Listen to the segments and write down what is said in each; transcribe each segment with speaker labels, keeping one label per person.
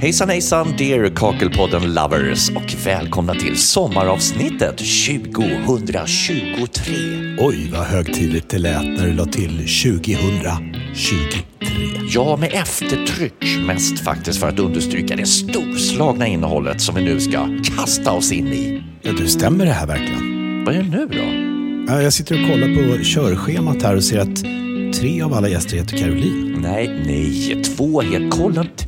Speaker 1: Hejsan hejsan dear Kakelpodden lovers och välkomna till sommaravsnittet 2023.
Speaker 2: Oj, vad högtidligt det lät när du la till 2023.
Speaker 1: Ja, med eftertryck mest faktiskt för att understryka det storslagna innehållet som vi nu ska kasta oss in i.
Speaker 2: Ja, du stämmer det här verkligen?
Speaker 1: Vad är det nu då?
Speaker 2: Ja, jag sitter och kollar på körschemat här och ser att tre av alla gäster heter Caroline.
Speaker 1: Nej, nej, två heter... Kolla! t-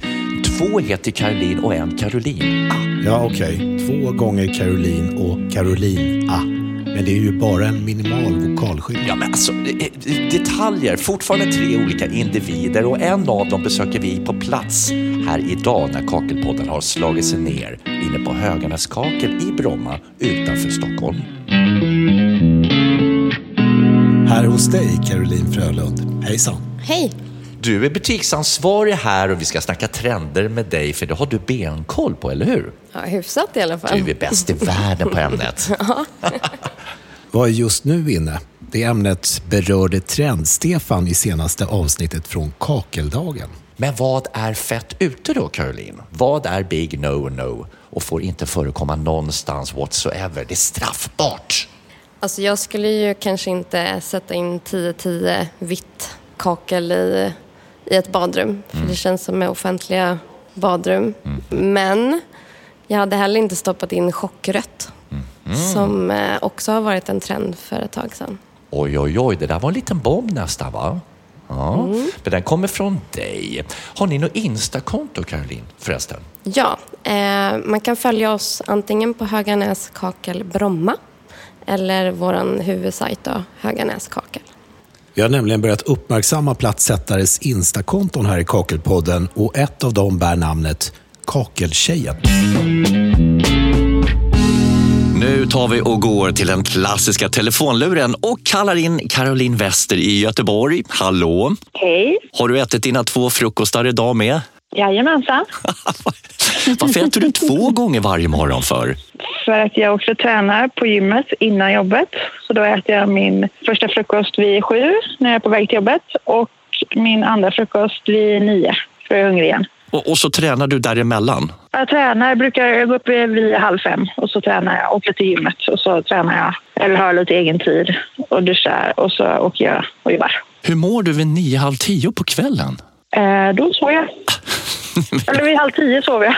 Speaker 1: Två heter Caroline och en Caroline.
Speaker 2: Ja, okej. Två gånger Caroline och Caroline A. Men det är ju bara en minimal vokalskillnad.
Speaker 1: Ja, men alltså, eh, eh, detaljer. Fortfarande tre olika individer och en av dem besöker vi på plats här idag när Kakelpodden har slagit sig ner inne på Höganäs kakel i Bromma utanför Stockholm.
Speaker 2: Här hos dig, Caroline Frölund. Hejsan.
Speaker 3: Hej!
Speaker 1: Du är butiksansvarig här och vi ska snacka trender med dig för det har du benkoll på, eller hur?
Speaker 3: Ja, hyfsat i alla fall.
Speaker 1: Du är bäst i världen på ämnet.
Speaker 2: Vad är just nu inne? Det ämnet berörde Trend-Stefan i senaste avsnittet från Kakeldagen.
Speaker 1: Men vad är fett ute då, Caroline? Vad är big no-no och får inte förekomma någonstans whatsoever? Det är straffbart.
Speaker 3: Alltså, jag skulle ju kanske inte sätta in 10-10 vitt kakel i, i ett badrum. För det känns som med offentliga badrum. Men jag hade heller inte stoppat in chockrött. Som eh, också har varit en trend för ett tag sedan.
Speaker 1: Oj, oj, oj, det där var en liten bomb nästan, va? Ja, men den kommer från dig. Har ni något Insta-konto, Caroline, förresten?
Speaker 3: Ja, eh, man kan följa oss antingen på Höganäs kakel Bromma eller vår huvudsajt då, Höganäs kakel.
Speaker 2: Jag har nämligen börjat uppmärksamma plattsättares Instakonton här i Kakelpodden och ett av dem bär namnet Kakeltjejen.
Speaker 1: Nu tar vi och går till den klassiska telefonluren och kallar in Caroline Wester i Göteborg. Hallå!
Speaker 4: Hej.
Speaker 1: Har du ätit dina två frukostar idag med?
Speaker 4: Jajamensan.
Speaker 1: Varför äter du två gånger varje morgon för?
Speaker 4: För att jag också tränar på gymmet innan jobbet. Så då äter jag min första frukost vid sju när jag är på väg till jobbet och min andra frukost vid nio. För jag är hungrig igen.
Speaker 1: Och, och så tränar du däremellan?
Speaker 4: Jag tränar, brukar jag gå upp vid halv fem och så tränar jag, åker till gymmet och så tränar jag eller har lite egen tid och duschar och så åker jag och jobbar.
Speaker 1: Hur mår du vid nio, halv tio på kvällen?
Speaker 4: Eh, då sover jag. Eller vid halv tio sover jag.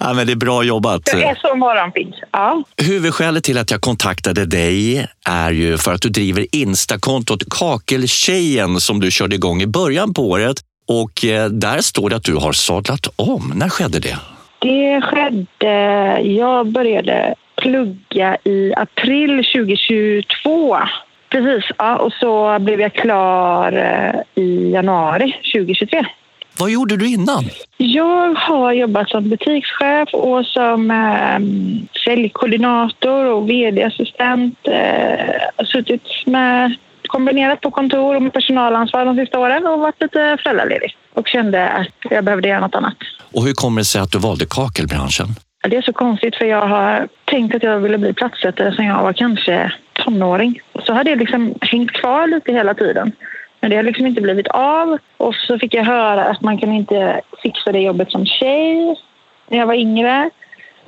Speaker 1: Ja, men det är bra jobbat.
Speaker 4: Jag är så morgonpigg. Ja.
Speaker 1: Huvudskälet till att jag kontaktade dig är ju för att du driver Instakontot Kakeltjejen som du körde igång i början på året. Och eh, där står det att du har sadlat om. När skedde det?
Speaker 4: Det skedde... Jag började plugga i april 2022. Precis, ja, och så blev jag klar eh, i januari 2023.
Speaker 1: Vad gjorde du innan?
Speaker 4: Jag har jobbat som butikschef och som eh, säljkoordinator och vd-assistent. Eh, har suttit med, kombinerat på kontor och med personalansvar de sista åren och varit lite föräldraledig och kände att jag behövde göra något annat.
Speaker 1: Och hur kommer det sig att du valde kakelbranschen?
Speaker 4: Ja, Det är så konstigt för jag har tänkt att jag ville bli plattsättare sedan jag var kanske tonåring. Och Så har det liksom hängt kvar lite hela tiden. Men det har liksom inte blivit av. Och så fick jag höra att man kan inte fixa det jobbet som tjej när jag var yngre.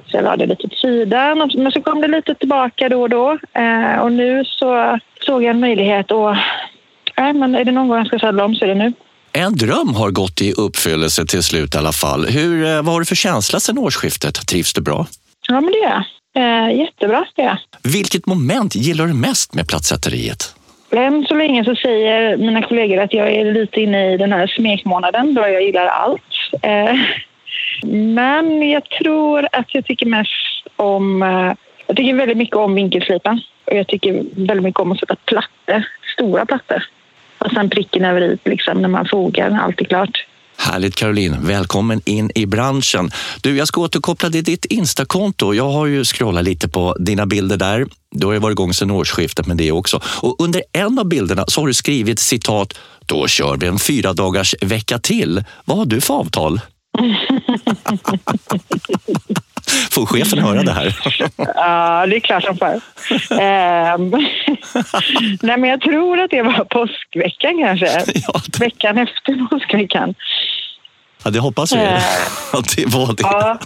Speaker 4: Så jag la det lite åt sidan. Och- Men så kom det lite tillbaka då och då. Eh, och nu så såg jag en möjlighet och... Nej, men är det någon gång jag ska sadla om så är det nu.
Speaker 1: En dröm har gått i uppfyllelse till slut i alla fall. Hur, eh, vad har du för känsla sedan årsskiftet? Trivs du bra?
Speaker 4: Ja, men det gör jag. Eh, jättebra, det gör jag.
Speaker 1: Vilket moment gillar du mest med plattsätteriet?
Speaker 4: Än så länge så säger mina kollegor att jag är lite inne i den här smekmånaden då jag gillar allt. Eh, Men jag tror att jag tycker mest om... eh, Jag tycker väldigt mycket om vinkelslipen. Och jag tycker väldigt mycket om att sätta plattor, stora plattor. Och sen pricken över i liksom, när man fogar, när allt är klart.
Speaker 1: Härligt Caroline, välkommen in i branschen. Du, jag ska återkoppla till ditt Instakonto. Jag har ju scrollat lite på dina bilder där. Du har ju varit igång sedan årsskiftet med det också. Och under en av bilderna så har du skrivit citat “Då kör vi en fyra dagars vecka till”. Vad har du för avtal? Får chefen höra det här?
Speaker 4: Ja, det är klart som fan. Ehm, Nej, men jag tror att det var påskveckan kanske.
Speaker 1: Ja,
Speaker 4: Veckan efter påskveckan.
Speaker 1: Ja, det hoppas vi
Speaker 4: Eh.
Speaker 1: att det var det.
Speaker 4: Ja.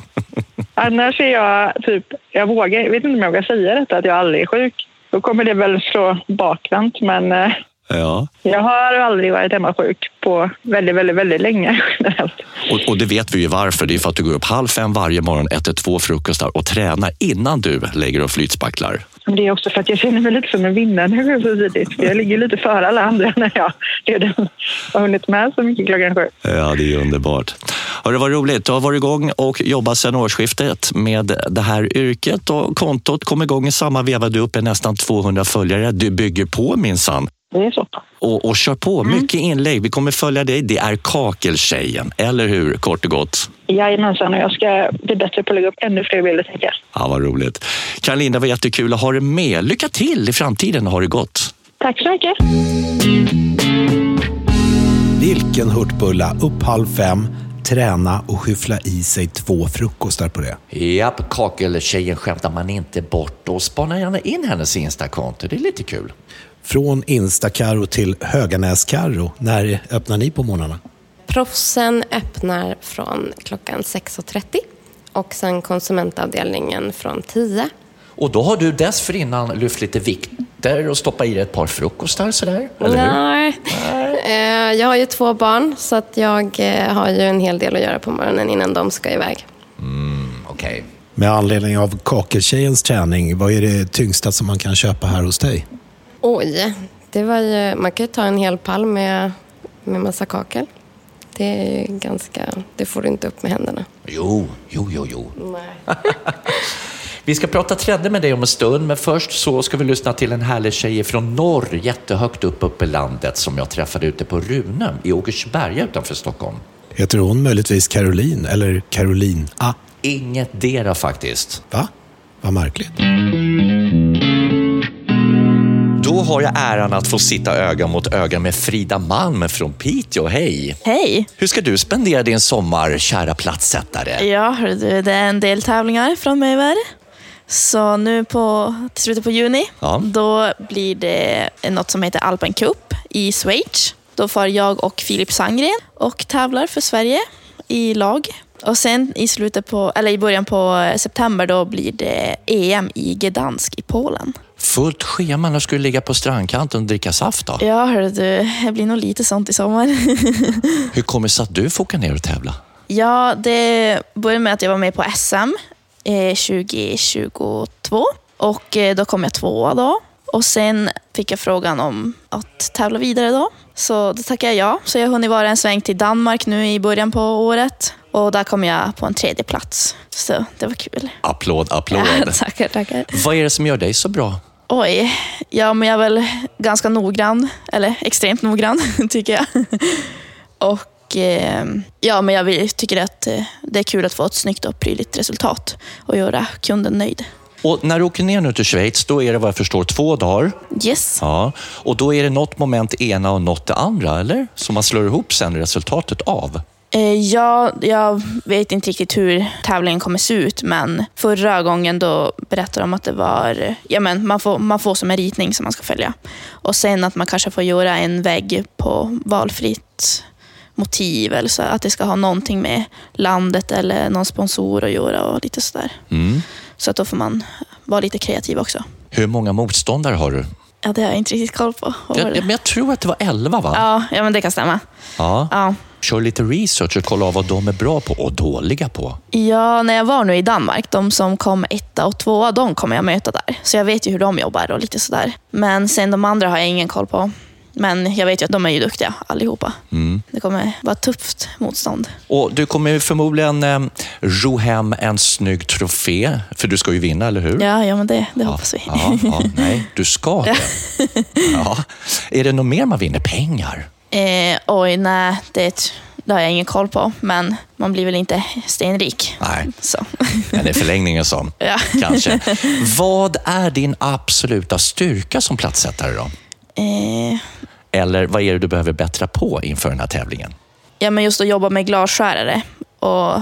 Speaker 4: Annars är jag typ, jag vågar, jag vet inte om jag vågar säga detta att jag aldrig är sjuk. Då kommer det väl slå bakvänt men eh,
Speaker 1: Ja.
Speaker 4: jag har aldrig varit hemma sjuk på väldigt, väldigt, väldigt länge generellt.
Speaker 1: Och, och det vet vi ju varför. Det är för att du går upp halv fem varje morgon, äter två frukostar och tränar innan du lägger och flytspacklar.
Speaker 4: Men det är också för att jag känner mig lite som en vinnare när jag går upp så tidigt. För jag ligger lite före alla andra när jag redan har hunnit med så mycket klockan sju.
Speaker 1: Ja, det är underbart. Har det varit roligt? Du har varit igång och jobbat sedan årsskiftet med det här yrket och kontot kom igång i samma veva. Du är uppe i nästan 200 följare. Du bygger på minsann.
Speaker 4: Det är så.
Speaker 1: Och, och kör på, mycket inlägg. Vi kommer följa dig. Det är Kakeltjejen, eller hur? Kort och gott.
Speaker 4: Jajamensan och jag ska bli bättre på att lägga upp ännu fler bilder tänker jag.
Speaker 1: Ja, vad roligt. Karolina, var jättekul att ha dig med. Lycka till i framtiden och ha det gott.
Speaker 4: Tack så mycket.
Speaker 2: Vilken hurtbulla! Upp halv fem, träna och skyffla i sig två frukostar på det.
Speaker 1: Japp, Kakeltjejen skämtar man inte bort och spana gärna in hennes Instakonto. Det är lite kul.
Speaker 2: Från Instacarro till Höganäscarro. När öppnar ni på morgnarna?
Speaker 3: Proffsen öppnar från klockan 6.30 och sen konsumentavdelningen från 10.
Speaker 1: Och då har du dessförinnan lyft lite vikter och stoppat i dig ett par frukostar sådär, eller hur?
Speaker 3: Nej. Eh, Jag har ju två barn så att jag eh, har ju en hel del att göra på morgonen innan de ska iväg.
Speaker 1: Okej.
Speaker 2: Med anledning av Kakeltjejens träning, vad är det tyngsta som man kan köpa här hos dig?
Speaker 3: Oj, det var ju, man kan ju ta en hel pall med, med massa kakel. Det är ju ganska, det får du inte upp med händerna.
Speaker 1: Jo, jo, jo, jo.
Speaker 3: Nej.
Speaker 1: Vi ska prata trender med dig om en stund, men först så ska vi lyssna till en härlig tjej från norr, jättehögt upp uppe i landet, som jag träffade ute på Runum i Åkersberga utanför Stockholm.
Speaker 2: Heter hon möjligtvis Caroline eller Caroline? Ah,
Speaker 1: Inget dera faktiskt.
Speaker 2: va? Vad märkligt.
Speaker 1: Då har jag äran att få sitta öga mot öga med Frida Malm från Piteå. Hej!
Speaker 5: Hej!
Speaker 1: Hur ska du spendera din sommar, kära platssättare?
Speaker 5: Ja, hörru du, det är en del tävlingar framöver. Så nu på, till slutet på juni,
Speaker 1: Ja.
Speaker 5: då blir det något som heter Alpen Cup i Schweiz. Då får jag och Filip Sandgren och tävlar för Sverige i lag. Och sen i, slutet på, eller i början på september då blir det EM i Gdansk i Polen.
Speaker 1: Fullt schema när du skulle ligga på strandkanten och dricka saft då?
Speaker 5: Ja, hörru du, det blir nog lite sånt i sommar.
Speaker 1: Hur kommer det sig att du får åka ner och tävla?
Speaker 5: Ja, det började med att jag var med på SM eh, 2022 och eh, då kom jag tvåa då. Och sen fick jag frågan om att tävla vidare då. Så då tackade jag ja. Så jag har hunnit vara en sväng till Danmark nu i början på året. Och där kom jag på en tredje plats. Så det var kul.
Speaker 1: Applåd, applåd.
Speaker 5: Ja, tackar, tackar.
Speaker 1: Vad är det som gör dig så bra?
Speaker 5: Oj, ja men jag är väl ganska noggrann, eller extremt noggrann tycker jag. Och eh, ja, men jag vill, tycker att eh, det är kul att få ett snyggt och prydligt resultat och göra kunden nöjd.
Speaker 1: Och när du åker ner nu till Schweiz, då är det vad jag förstår två dagar.
Speaker 5: Yes.
Speaker 1: Ja. Och då är det något moment ena och något det andra, eller? Som man slår ihop sen resultatet av.
Speaker 5: Eh, ja, jag vet inte riktigt hur tävlingen kommer se ut, men förra gången då berättade de att det var, ja men man får, man får som en ritning som man ska följa. Och sen att man kanske får göra en vägg på valfritt motiv, eller så att det ska ha någonting med landet eller någon sponsor att göra och lite sådär. Så att då får man vara lite kreativ också.
Speaker 1: Mm. Hur många motståndare har du?
Speaker 5: Ja, det har jag inte riktigt koll på. Vad var
Speaker 1: Jag,
Speaker 5: det?
Speaker 1: jag, men jag tror att det var elva, va?
Speaker 5: Ja, ja, men det kan stämma.
Speaker 1: Ja.
Speaker 5: Ja.
Speaker 1: Kör lite research och kolla av vad de är bra på och dåliga på.
Speaker 5: Ja, när jag var nu i Danmark, de som kom etta och tvåa, de kommer jag möta där. Så jag vet ju hur de jobbar och lite sådär. Men sen de andra har jag ingen koll på. Men jag vet ju att de är ju duktiga allihopa. Det kommer vara tufft motstånd.
Speaker 1: Och du kommer ju förmodligen eh, ro hem en snygg trofé, för du ska ju vinna, eller hur?
Speaker 5: Ja, ja men det, det hoppas vi.
Speaker 1: Ja, ja, nej, du ska det. Ja. Är det något mer man vinner? Pengar?
Speaker 5: Eh, oj, nej, det, det har jag ingen koll på. Men man blir väl inte stenrik.
Speaker 1: Nej,
Speaker 5: Så.
Speaker 1: men i förlängningen så.
Speaker 5: Ja.
Speaker 1: Kanske. Vad är din absoluta styrka som platssättare då?
Speaker 5: Eh,
Speaker 1: Eller vad är det du behöver bättra på inför den här tävlingen?
Speaker 5: ja, men just att jobba med glasskärare. Och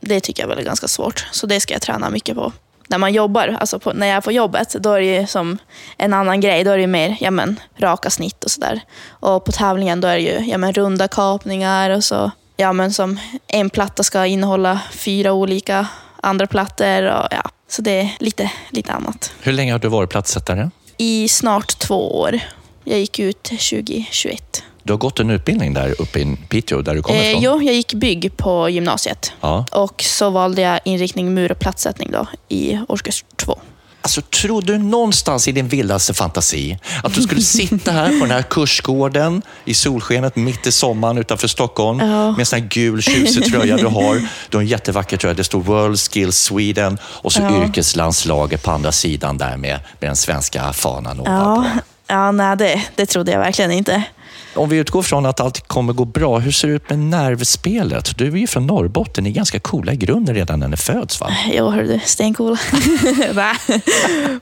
Speaker 5: det tycker jag väl är ganska svårt, så det ska jag träna mycket på. När man jobbar, alltså på, när jag är på jobbet, då är det ju som en annan grej. Då är det ju mer ja, men, raka snitt och sådär. Och på tävlingen då är det ju ja, men, runda kapningar och så ja, men som en platta ska innehålla fyra olika andra plattor. Och, ja. Så det är lite, lite annat.
Speaker 1: Hur länge har du varit plattsättare?
Speaker 5: I snart två år. Jag gick ut 2021.
Speaker 1: Du har gått en utbildning där uppe i Piteå, där du kommer
Speaker 5: Eh,
Speaker 1: ifrån.
Speaker 5: jo, jag gick bygg på gymnasiet.
Speaker 1: Ja.
Speaker 5: Och så valde jag inriktning mur och plattsättning då, i årskurs två.
Speaker 1: Alltså, trodde du någonstans i din vildaste fantasi att du skulle sitta här på den här kursgården i solskenet mitt i sommaren utanför Stockholm med en sån här gul tjusig tröja du har. Du har en jättevacker tröja. Det står World Skills Sweden och så yrkeslandslaget på andra sidan där med, med den svenska fanan ovanpå.
Speaker 5: Ja, ja nej, det, det trodde jag verkligen inte.
Speaker 1: Om vi utgår från att allt kommer gå bra, hur ser det ut med nervspelet? Du är ju från Norrbotten, ni är ganska coola i grunden redan när ni föds va?
Speaker 5: Jo, hörru du, stencool. Nej.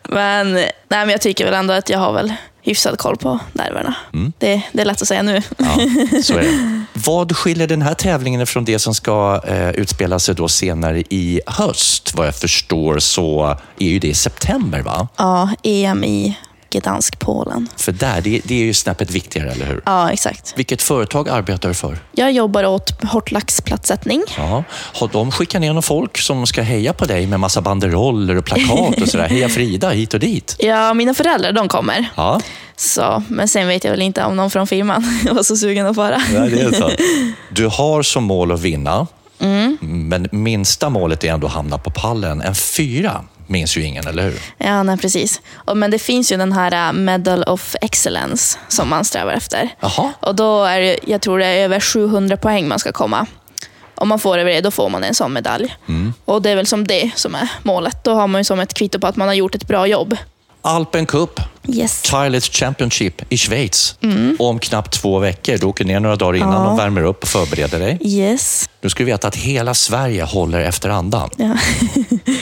Speaker 5: men, nej, men jag tycker väl ändå att jag har väl hyfsad koll på nerverna. Det, det är lätt att säga nu.
Speaker 1: Ja, så är det. Vad skiljer den här tävlingen från det som ska eh, utspela sig då senare i höst? Vad jag förstår så är ju det i september, va?
Speaker 5: Ja, EM i Gdansk, Polen.
Speaker 1: För där, det, det är ju snäppet viktigare, eller hur?
Speaker 5: Ja, exakt.
Speaker 1: Vilket företag arbetar du för?
Speaker 5: Jag jobbar åt Hortlax plattsättning.
Speaker 1: Ja. Har de skickat ner någon folk som ska heja på dig med massa banderoller och plakat och sådär? Heja Frida, hit och dit.
Speaker 5: Ja, mina föräldrar de kommer.
Speaker 1: Ja,
Speaker 5: Så, men sen vet jag väl inte om någon från firman var så sugen att fara.
Speaker 1: Nej, det är så. Du har som mål att vinna, Mm. men minsta målet är ändå att hamna på pallen. En fyra minns ju ingen, eller hur?
Speaker 5: Ja, nej, precis. Och, men det finns ju den här eh, Medal of Excellence som man strävar efter.
Speaker 1: Jaha.
Speaker 5: Och då är det, jag tror det är över 700 poäng man ska komma. Om man får över det, då får man en sån medalj. Och det är väl som det som är målet. Då har man ju som ett kvitto på att man har gjort ett bra jobb.
Speaker 1: Alpen Cup,
Speaker 5: Yes.
Speaker 1: Tilets Championship i Schweiz. Om knappt två veckor. Du åker ner några dagar innan
Speaker 5: Ja.
Speaker 1: och värmer upp och förbereder dig.
Speaker 5: Yes.
Speaker 1: Du ska du veta att hela Sverige håller efter andan.
Speaker 5: Ja.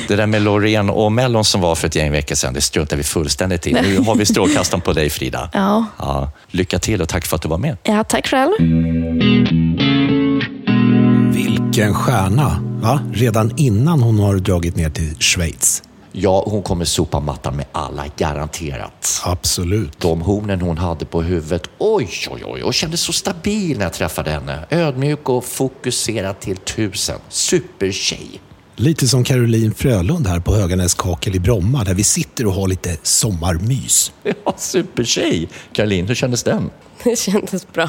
Speaker 1: Det där med Loreen och Mellon som var för ett gäng veckor sedan, det struntar vi fullständigt i. Nu har vi strålkastaren på dig Frida.
Speaker 5: Ja.
Speaker 1: Ja, lycka till och tack för att du var med.
Speaker 5: ja, tack själv.
Speaker 2: Vilken stjärna! Va? Redan innan hon har dragit ner till Schweiz.
Speaker 1: Ja, hon kommer sopa mattan med alla, garanterat.
Speaker 2: Absolut.
Speaker 1: De hornen hon hade på huvudet, oj, oj, oj, och kändes så stabil när jag träffade henne. Ödmjuk och fokuserad till tusen. Supertjej.
Speaker 2: Lite som Caroline Frölund här på Höganäs kakel i Bromma där vi sitter och har lite sommarmys.
Speaker 1: Ja, supertjej! Caroline, hur kändes den?
Speaker 3: Det kändes bra.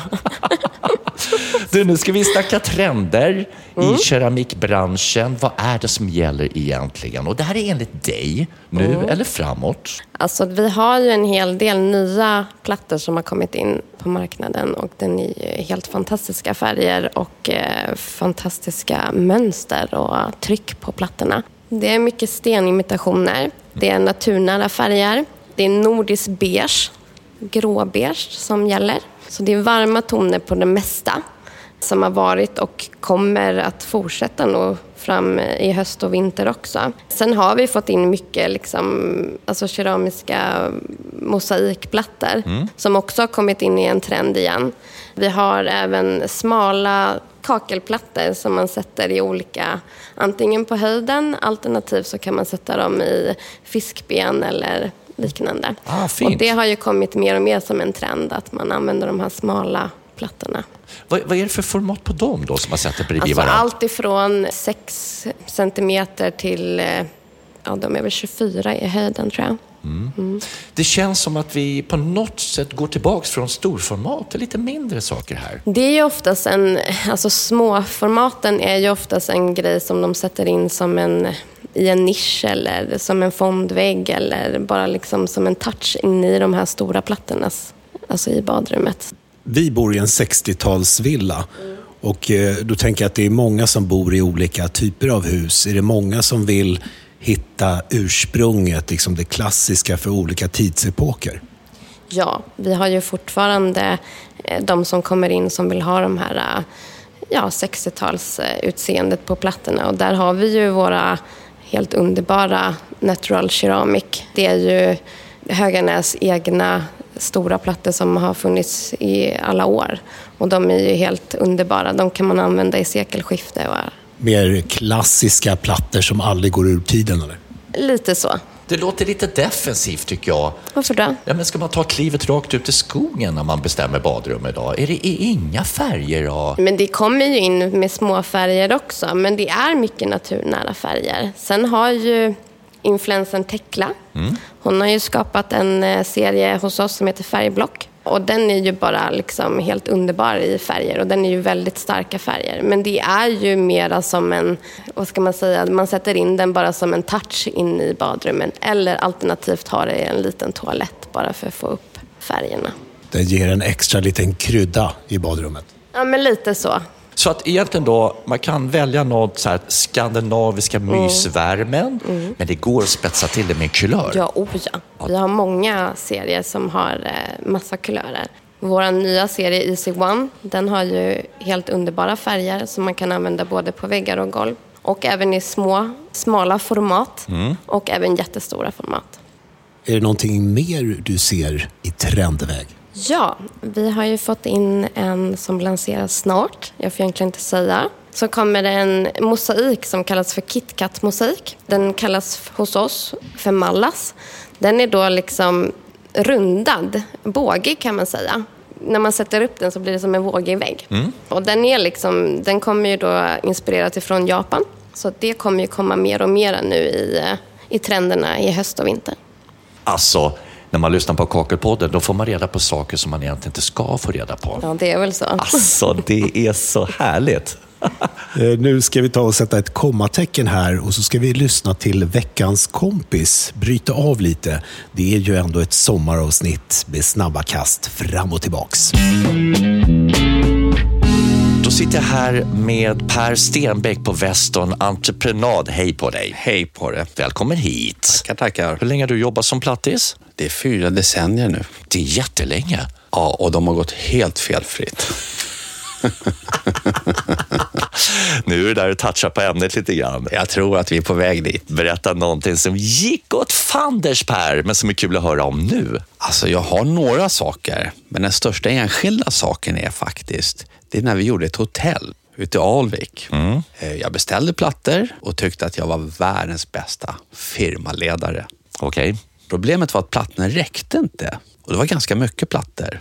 Speaker 1: Du, nu ska vi snacka trender
Speaker 3: Mm.
Speaker 1: i keramikbranschen. Vad är det som gäller egentligen? Och det här är enligt dig, nu
Speaker 3: Mm.
Speaker 1: eller framåt.
Speaker 3: Alltså, vi har ju en hel del nya plattor som har kommit in på marknaden och den är ju helt fantastiska färger och eh, fantastiska mönster och tryck på plattorna. Det är mycket stenimitationer, det är naturnära färger, det är nordisk beige, gråbeige som gäller. Så det är varma toner på det mesta som har varit och kommer att fortsätta nog fram i höst och vinter också. Sen har vi fått in mycket liksom, alltså keramiska mosaikplattor
Speaker 1: Mm.
Speaker 3: som också har kommit in i en trend igen. Vi har även smala kakelplattor som man sätter i olika, antingen på höjden alternativt så kan man sätta dem i fiskben eller liknande.
Speaker 1: Ah, fint.
Speaker 3: och det har ju kommit mer och mer som en trend att man använder de här smala plattorna.
Speaker 1: Vad, vad är det för format på dem då som man sätter bredvid
Speaker 3: Alltså
Speaker 1: varandra?
Speaker 3: allt ifrån 6 centimeter till, eh, ja de är väl 24 i höjden tror jag.
Speaker 1: Det känns som att vi på något sätt går tillbaks från storformat till lite mindre saker här.
Speaker 3: Det är ju oftast en, alltså småformaten är ju oftast en grej som de sätter in som en, i en nisch eller som en fondvägg eller bara liksom som en touch in i de här stora plattornas, alltså i badrummet.
Speaker 2: Vi bor i en 60-talsvilla. Och eh, då tänker jag att det är många som bor i olika typer av hus. Är det många som vill hitta ursprunget, liksom det klassiska för olika tidsepoker?
Speaker 3: Ja, vi har ju fortfarande eh, de som kommer in som vill ha de här eh, ja, 60-talsutseendet på plattorna. Och där har vi ju våra helt underbara natural ceramic. Det är ju Höganäs egna stora plattor som har funnits i alla år. Och de är ju helt underbara. De kan man använda i sekelskifte. Och
Speaker 2: Mer klassiska plattor som aldrig går ur tiden, eller?
Speaker 3: lite så.
Speaker 1: Det låter lite defensivt tycker jag.
Speaker 3: Varför då?
Speaker 1: Ja, men ska man ta klivet rakt ut i skogen när man bestämmer badrum idag? Är det är inga färger? Och...
Speaker 3: Men det kommer ju in med små färger också, men det är mycket naturnära färger. Sen har ju influensen Tekla, hon har ju skapat en eh, serie hos oss som heter Färgblock. Och den är ju bara liksom helt underbar i färger och den är ju väldigt starka färger. Men det är ju mera som en, vad ska man säga, man sätter in den bara som en touch in i badrummen. Eller alternativt har det i en liten toalett bara för att få upp färgerna.
Speaker 2: Det ger en extra liten krydda i badrummet.
Speaker 3: Ja, men lite så.
Speaker 1: Så att egentligen då, man kan välja något så här skandinaviska
Speaker 3: Mm.
Speaker 1: mysvärmen, men det går att spetsa till det med en kulör.
Speaker 3: Ja, oh ja. Vi har många serier som har eh, massa kulörer. Vår nya serie Easy One, den har ju helt underbara färger som man kan använda både på väggar och golv. Och även i små, smala format och även jättestora format.
Speaker 2: Är det någonting mer du ser i trendväg?
Speaker 3: Ja, vi har ju fått in en som lanseras snart. Jag får egentligen inte säga. Så kommer det en mosaik som kallas för KitKat-mosaik. Den kallas f- hos oss för Mallas. Den är då liksom rundad, bågig kan man säga. När man sätter upp den så blir det som en vågig vägg. Och den, är liksom, den kommer ju då inspirerat ifrån Japan. Så det kommer ju komma mer och mer nu i, eh, i trenderna i höst och vinter.
Speaker 1: Alltså, när man lyssnar på Kakelpodden, då får man reda på saker som man egentligen inte ska få reda på.
Speaker 3: Ja, det är väl så.
Speaker 1: Alltså, det är så härligt.
Speaker 2: Eh, Nu ska vi ta och sätta ett kommatecken här och så ska vi lyssna till veckans kompis. Bryta av lite. Det är ju ändå ett sommaravsnitt med snabba kast fram och tillbaks.
Speaker 1: Då sitter jag här med Per Stenbeck på Weston Entreprenad. Hej på dig!
Speaker 6: Hej på det.
Speaker 1: Välkommen hit!
Speaker 6: Tackar, tackar.
Speaker 1: Hur länge har du jobbat som plattis?
Speaker 6: Det är fyra decennier nu.
Speaker 1: Det är jättelänge.
Speaker 6: Ja, och de har gått helt felfritt.
Speaker 1: Nu är det där och touchar på ämnet lite grann.
Speaker 6: Jag tror att vi är på väg dit.
Speaker 1: Berätta någonting som gick åt fanders Per, men som är kul att höra om nu.
Speaker 6: Alltså, jag har några saker, men den största enskilda saken är faktiskt, det är när vi gjorde ett hotell ute i Alvik. Eh, Jag beställde plattor och tyckte att jag var världens bästa firmaledare.
Speaker 1: Okej.
Speaker 6: Problemet var att plattorna räckte inte och det var ganska mycket plattor.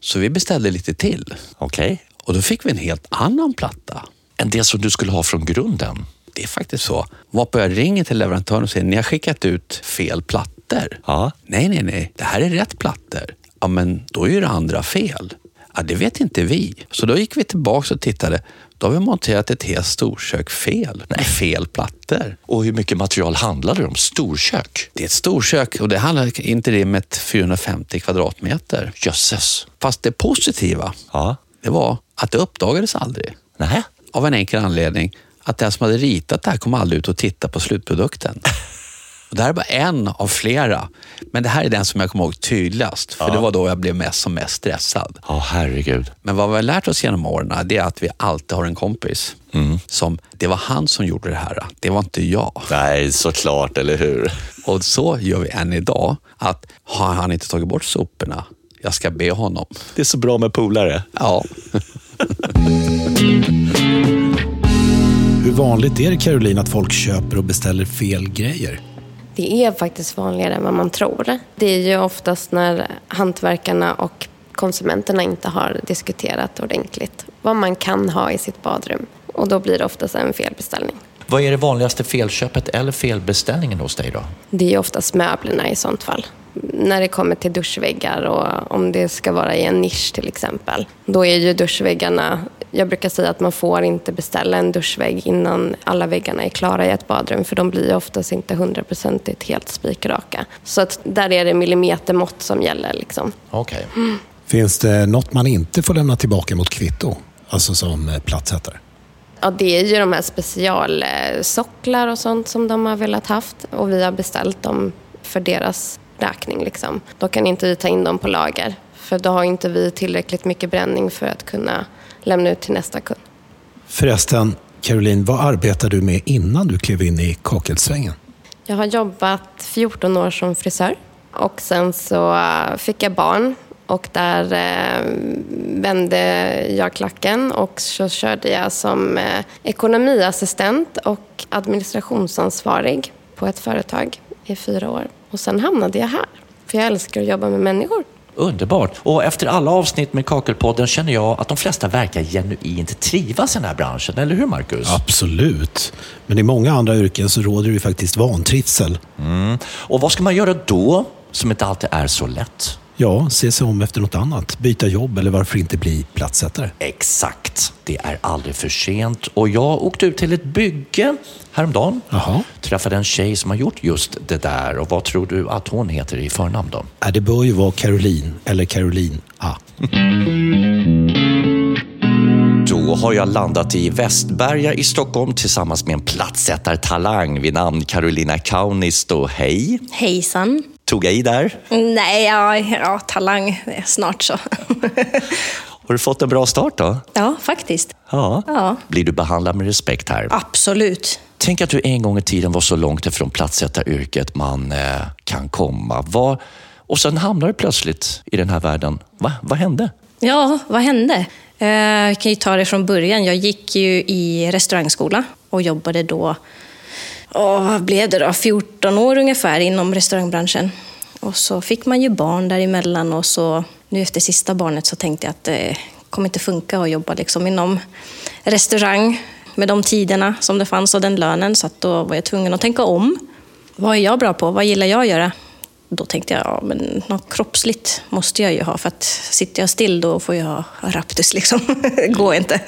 Speaker 6: Så vi beställde lite till
Speaker 1: Okej.
Speaker 6: och då fick vi en helt annan platta.
Speaker 1: En del som du skulle ha från grunden.
Speaker 6: Det är faktiskt så. Varpå jag ringer till leverantören och säger, ni har skickat ut fel plattor.
Speaker 1: Ja.
Speaker 6: Nej, nej, nej, det här är rätt plattor. Ja, men då är ju det andra fel. Ja, det vet inte vi. Så då gick vi tillbaka och tittade. Då har vi monterat ett helt storkök fel, med fel plattor.
Speaker 1: Och hur mycket material handlade det om? Storkök?
Speaker 6: Det är ett storkök och det handlar interimet 450 kvadratmeter.
Speaker 1: Jösses.
Speaker 6: Fast det positiva,
Speaker 1: Ja.
Speaker 6: det var att det uppdagades aldrig.
Speaker 1: Nähä?
Speaker 6: Av en enkel anledning att den som hade ritat det här kom aldrig ut och tittade på slutprodukten. Och det här är bara en av flera. Men det här är den som jag kommer ihåg tydligast. För det var då jag blev mest som mest stressad.
Speaker 1: Ja, herregud.
Speaker 6: Men vad vi har lärt oss genom åren det är att vi alltid har en kompis. Som, det var han som gjorde det här. Det var inte jag.
Speaker 1: Nej, såklart, eller hur?
Speaker 6: Och så gör vi än idag. Att har han inte tagit bort soporna, jag ska be honom.
Speaker 1: Det är så bra med polare.
Speaker 6: Ja,
Speaker 2: Hur vanligt är det Caroline att folk köper och beställer fel grejer?
Speaker 3: Det är faktiskt vanligare än vad man tror. Det är ju oftast när hantverkarna och konsumenterna inte har diskuterat ordentligt vad man kan ha i sitt badrum. Och då blir det oftast en felbeställning.
Speaker 1: Vad är det vanligaste felköpet eller felbeställningen hos dig då?
Speaker 3: Det är ju oftast möblerna i sånt fall. När det kommer till duschväggar och om det ska vara i en nisch till exempel. Då är ju duschväggarna, jag brukar säga att man får inte beställa en duschvägg innan alla väggarna är klara i ett badrum för de blir ju oftast inte hundraprocentigt helt spikraka. Så att där är det millimetermått som gäller liksom.
Speaker 1: Okej.
Speaker 2: Finns det något man inte får lämna tillbaka mot kvitto? Alltså som eh, plattsättare.
Speaker 3: Ja, det är ju de här specialsocklar och sånt som de har velat haft och vi har beställt dem för deras räkning. Liksom. Då kan inte vi ta in dem på lager för då har inte vi tillräckligt mycket bränning för att kunna lämna ut till nästa kund.
Speaker 2: Förresten, Caroline, vad arbetade du med innan du klev in i kakelsvängen?
Speaker 3: Jag har jobbat 14 år som frisör och sen så eh, fick jag barn och där eh, vände jag klacken och så körde jag som eh, ekonomiassistent och administrationsansvarig på ett företag i fyra år. Och sen hamnade jag här. För jag älskar att jobba med människor.
Speaker 1: Underbart! Och efter alla avsnitt med Kakelpodden känner jag att de flesta verkar genuint trivas i den här branschen, eller hur Marcus?
Speaker 2: Absolut. Men i många andra yrken så råder det ju faktiskt vantrivsel.
Speaker 1: Och vad ska man göra då, som inte alltid är så lätt?
Speaker 2: Ja, se sig om efter något annat. Byta jobb eller varför inte bli platssättare?
Speaker 1: Exakt, det är aldrig för sent. Och jag åkte ut till ett bygge häromdagen.
Speaker 2: Jaha.
Speaker 1: Träffade en tjej som har gjort just det där. Och vad tror du att hon heter i förnamn då?
Speaker 2: Äh, det bör ju vara Caroline eller Caroline A.
Speaker 1: Då har jag landat i Västberga i Stockholm tillsammans med en platsättartalang vid namn Carolina Kaunisto. Hej!
Speaker 7: Hejsan.
Speaker 1: Tog jag i där?
Speaker 7: Nej, ja, ja, talang. Det är Snart så.
Speaker 1: Har du fått en bra start då?
Speaker 7: ja, faktiskt.
Speaker 1: Ja.
Speaker 7: Ja.
Speaker 1: Blir du behandlad med respekt här?
Speaker 7: Absolut.
Speaker 1: Tänk att du en gång i tiden var så långt ifrån platsättaryrket man eh, kan komma. Vad- och sen hamnar du plötsligt i den här världen. Va? Vad hände?
Speaker 7: Ja, vad hände? Eh, Jag kan ju ta det från början. Jag gick ju i restaurangskola och jobbade då, åh, vad blev det då, 14 år ungefär inom restaurangbranschen. Och så fick man ju barn däremellan och så nu efter sista barnet så tänkte jag att det kommer inte funka att jobba liksom inom restaurang med de tiderna som det fanns och den lönen. Så att då var jag tvungen att tänka om. Vad är jag bra på? Vad gillar jag att göra? Då tänkte jag, ja, men något kroppsligt måste jag ju ha, för att sitter jag still då får jag ha raptus liksom. Det går inte.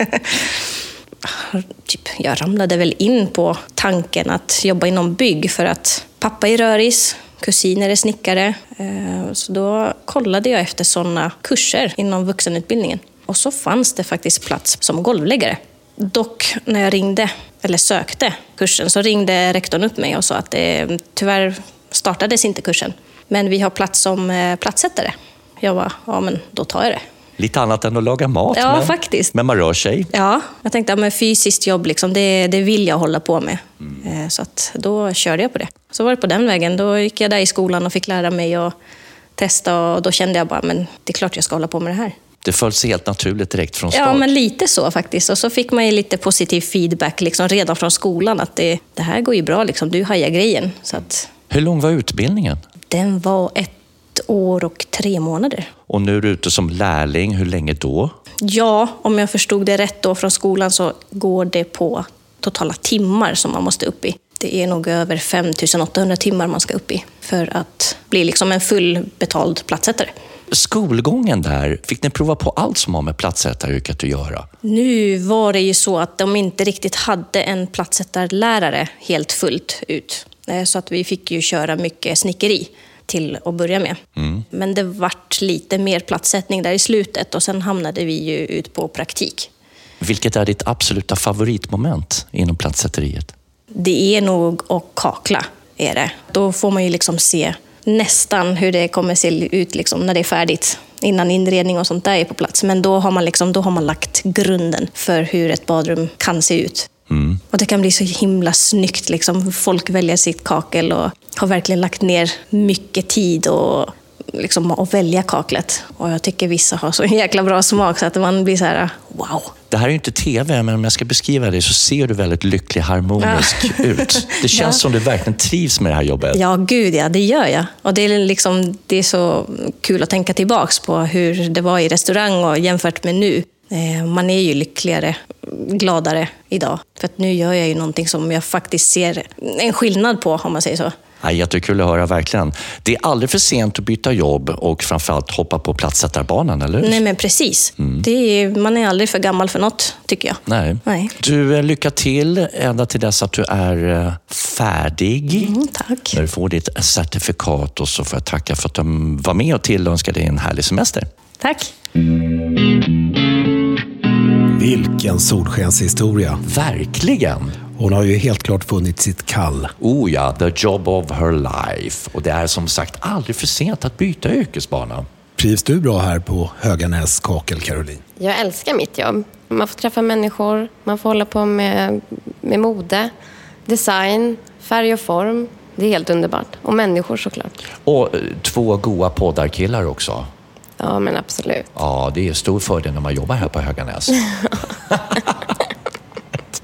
Speaker 7: Typ, jag ramlade väl in på tanken att jobba inom bygg för att pappa är röris, kusiner är snickare. Eh, Så då kollade jag efter sådana kurser inom vuxenutbildningen. Och så fanns det faktiskt plats som golvläggare. Dock, när jag ringde, eller sökte kursen, så ringde rektorn upp mig och sa att eh, tyvärr startades inte kursen. Men vi har plats som eh, platssättare. Jag var, ja men då tar jag det.
Speaker 1: Lite annat än att laga mat.
Speaker 7: Ja,
Speaker 1: men,
Speaker 7: faktiskt.
Speaker 1: Men man rör sig.
Speaker 7: Ja, jag tänkte att men fysiskt jobb, liksom, det, det vill jag hålla på med. Eh, Så att då körde jag på det. Så var det på den vägen. Då gick jag där i skolan och fick lära mig och testa och då kände jag bara, men det är klart jag ska hålla på med det här.
Speaker 1: Det föll sig helt naturligt direkt från start.
Speaker 7: Ja, men lite så faktiskt. Och så fick man ju lite positiv feedback liksom, redan från skolan att det, det här går ju bra, liksom. du hajar grejen. Så att,
Speaker 1: Hur lång var utbildningen?
Speaker 7: den var ett år och tre månader.
Speaker 1: Och nu är du ute som lärling. Hur länge då?
Speaker 7: Ja, om jag förstod det rätt då från skolan så går det på totala timmar som man måste upp i. Det är nog över 5800 timmar man ska upp i för att bli liksom en fullbetald platssättare.
Speaker 1: Skolgången där, fick ni prova på allt som har med platsättaryrket att göra?
Speaker 7: Nu var det ju så att de inte riktigt hade en platssättarlärare helt fullt ut. Eh, Så att vi fick ju köra mycket snickeri till att börja med. Men det vart lite mer platssättning där i slutet och sen hamnade vi ju ut på praktik.
Speaker 1: Vilket är ditt absoluta favoritmoment inom platsätteriet?
Speaker 7: Det är nog och kakla, är det. Då får man ju liksom se nästan hur det kommer se ut liksom när det är färdigt. Innan inredning och sånt där är på plats. Men då har man, liksom, då har man lagt grunden för hur ett badrum kan se ut. Och det kan bli så himla snyggt. Liksom. Folk väljer sitt kakel och har verkligen lagt ner mycket tid och liksom att välja kaklet. Och jag tycker vissa har så jäkla bra smak så att man blir så här, wow.
Speaker 1: Det här är ju inte TV, men om jag ska beskriva dig så ser du väldigt lycklig, harmonisk ut. Det känns
Speaker 7: Ja.
Speaker 1: som du verkligen trivs med det här jobbet.
Speaker 7: Ja, gud ja, det gör jag. Och det är, liksom, det är så kul att tänka tillbaks på hur det var i restaurang och jämfört med nu. Eh, Man är ju lyckligare, gladare idag. För att nu gör jag ju någonting som jag faktiskt ser en skillnad på, om man säger så.
Speaker 1: Ja, jättekul att höra, verkligen. Det är aldrig för sent att byta jobb och framförallt hoppa på platssättarbanan, eller hur?
Speaker 7: Nej, men precis. Det är, man är aldrig för gammal för något, tycker jag.
Speaker 1: Nej.
Speaker 7: Nej.
Speaker 1: Du, eh, lycka till ända till dess att du är eh, färdig.
Speaker 7: Mm, tack.
Speaker 1: När du får ditt certifikat och så får jag tacka för att de var med och tillönskade dig en härlig semester.
Speaker 7: Tack.
Speaker 2: Vilken solskenshistoria.
Speaker 1: Verkligen!
Speaker 2: Hon har ju helt klart funnit sitt kall.
Speaker 1: Oh ja, the job of her life. Och det är som sagt aldrig för sent att byta yrkesbana.
Speaker 2: Trivs du bra här på Höganäs kakel, Caroline?
Speaker 3: Jag älskar mitt jobb. Man får träffa människor, man får hålla på med, med mode, design, färg och form. Det är helt underbart. Och människor såklart.
Speaker 1: Och eh, två goa poddarkillar också.
Speaker 3: Ja, men absolut.
Speaker 1: Ja, det är stor fördel när man jobbar här på Höganäs.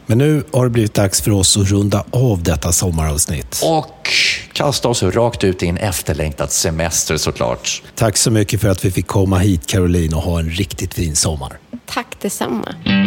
Speaker 2: Men nu har det blivit dags för oss att runda av detta sommaravsnitt.
Speaker 1: Och kasta oss rakt ut i en efterlängtad semester såklart.
Speaker 2: Tack så mycket för att vi fick komma hit, Caroline, och ha en riktigt fin sommar.
Speaker 3: Tack detsamma.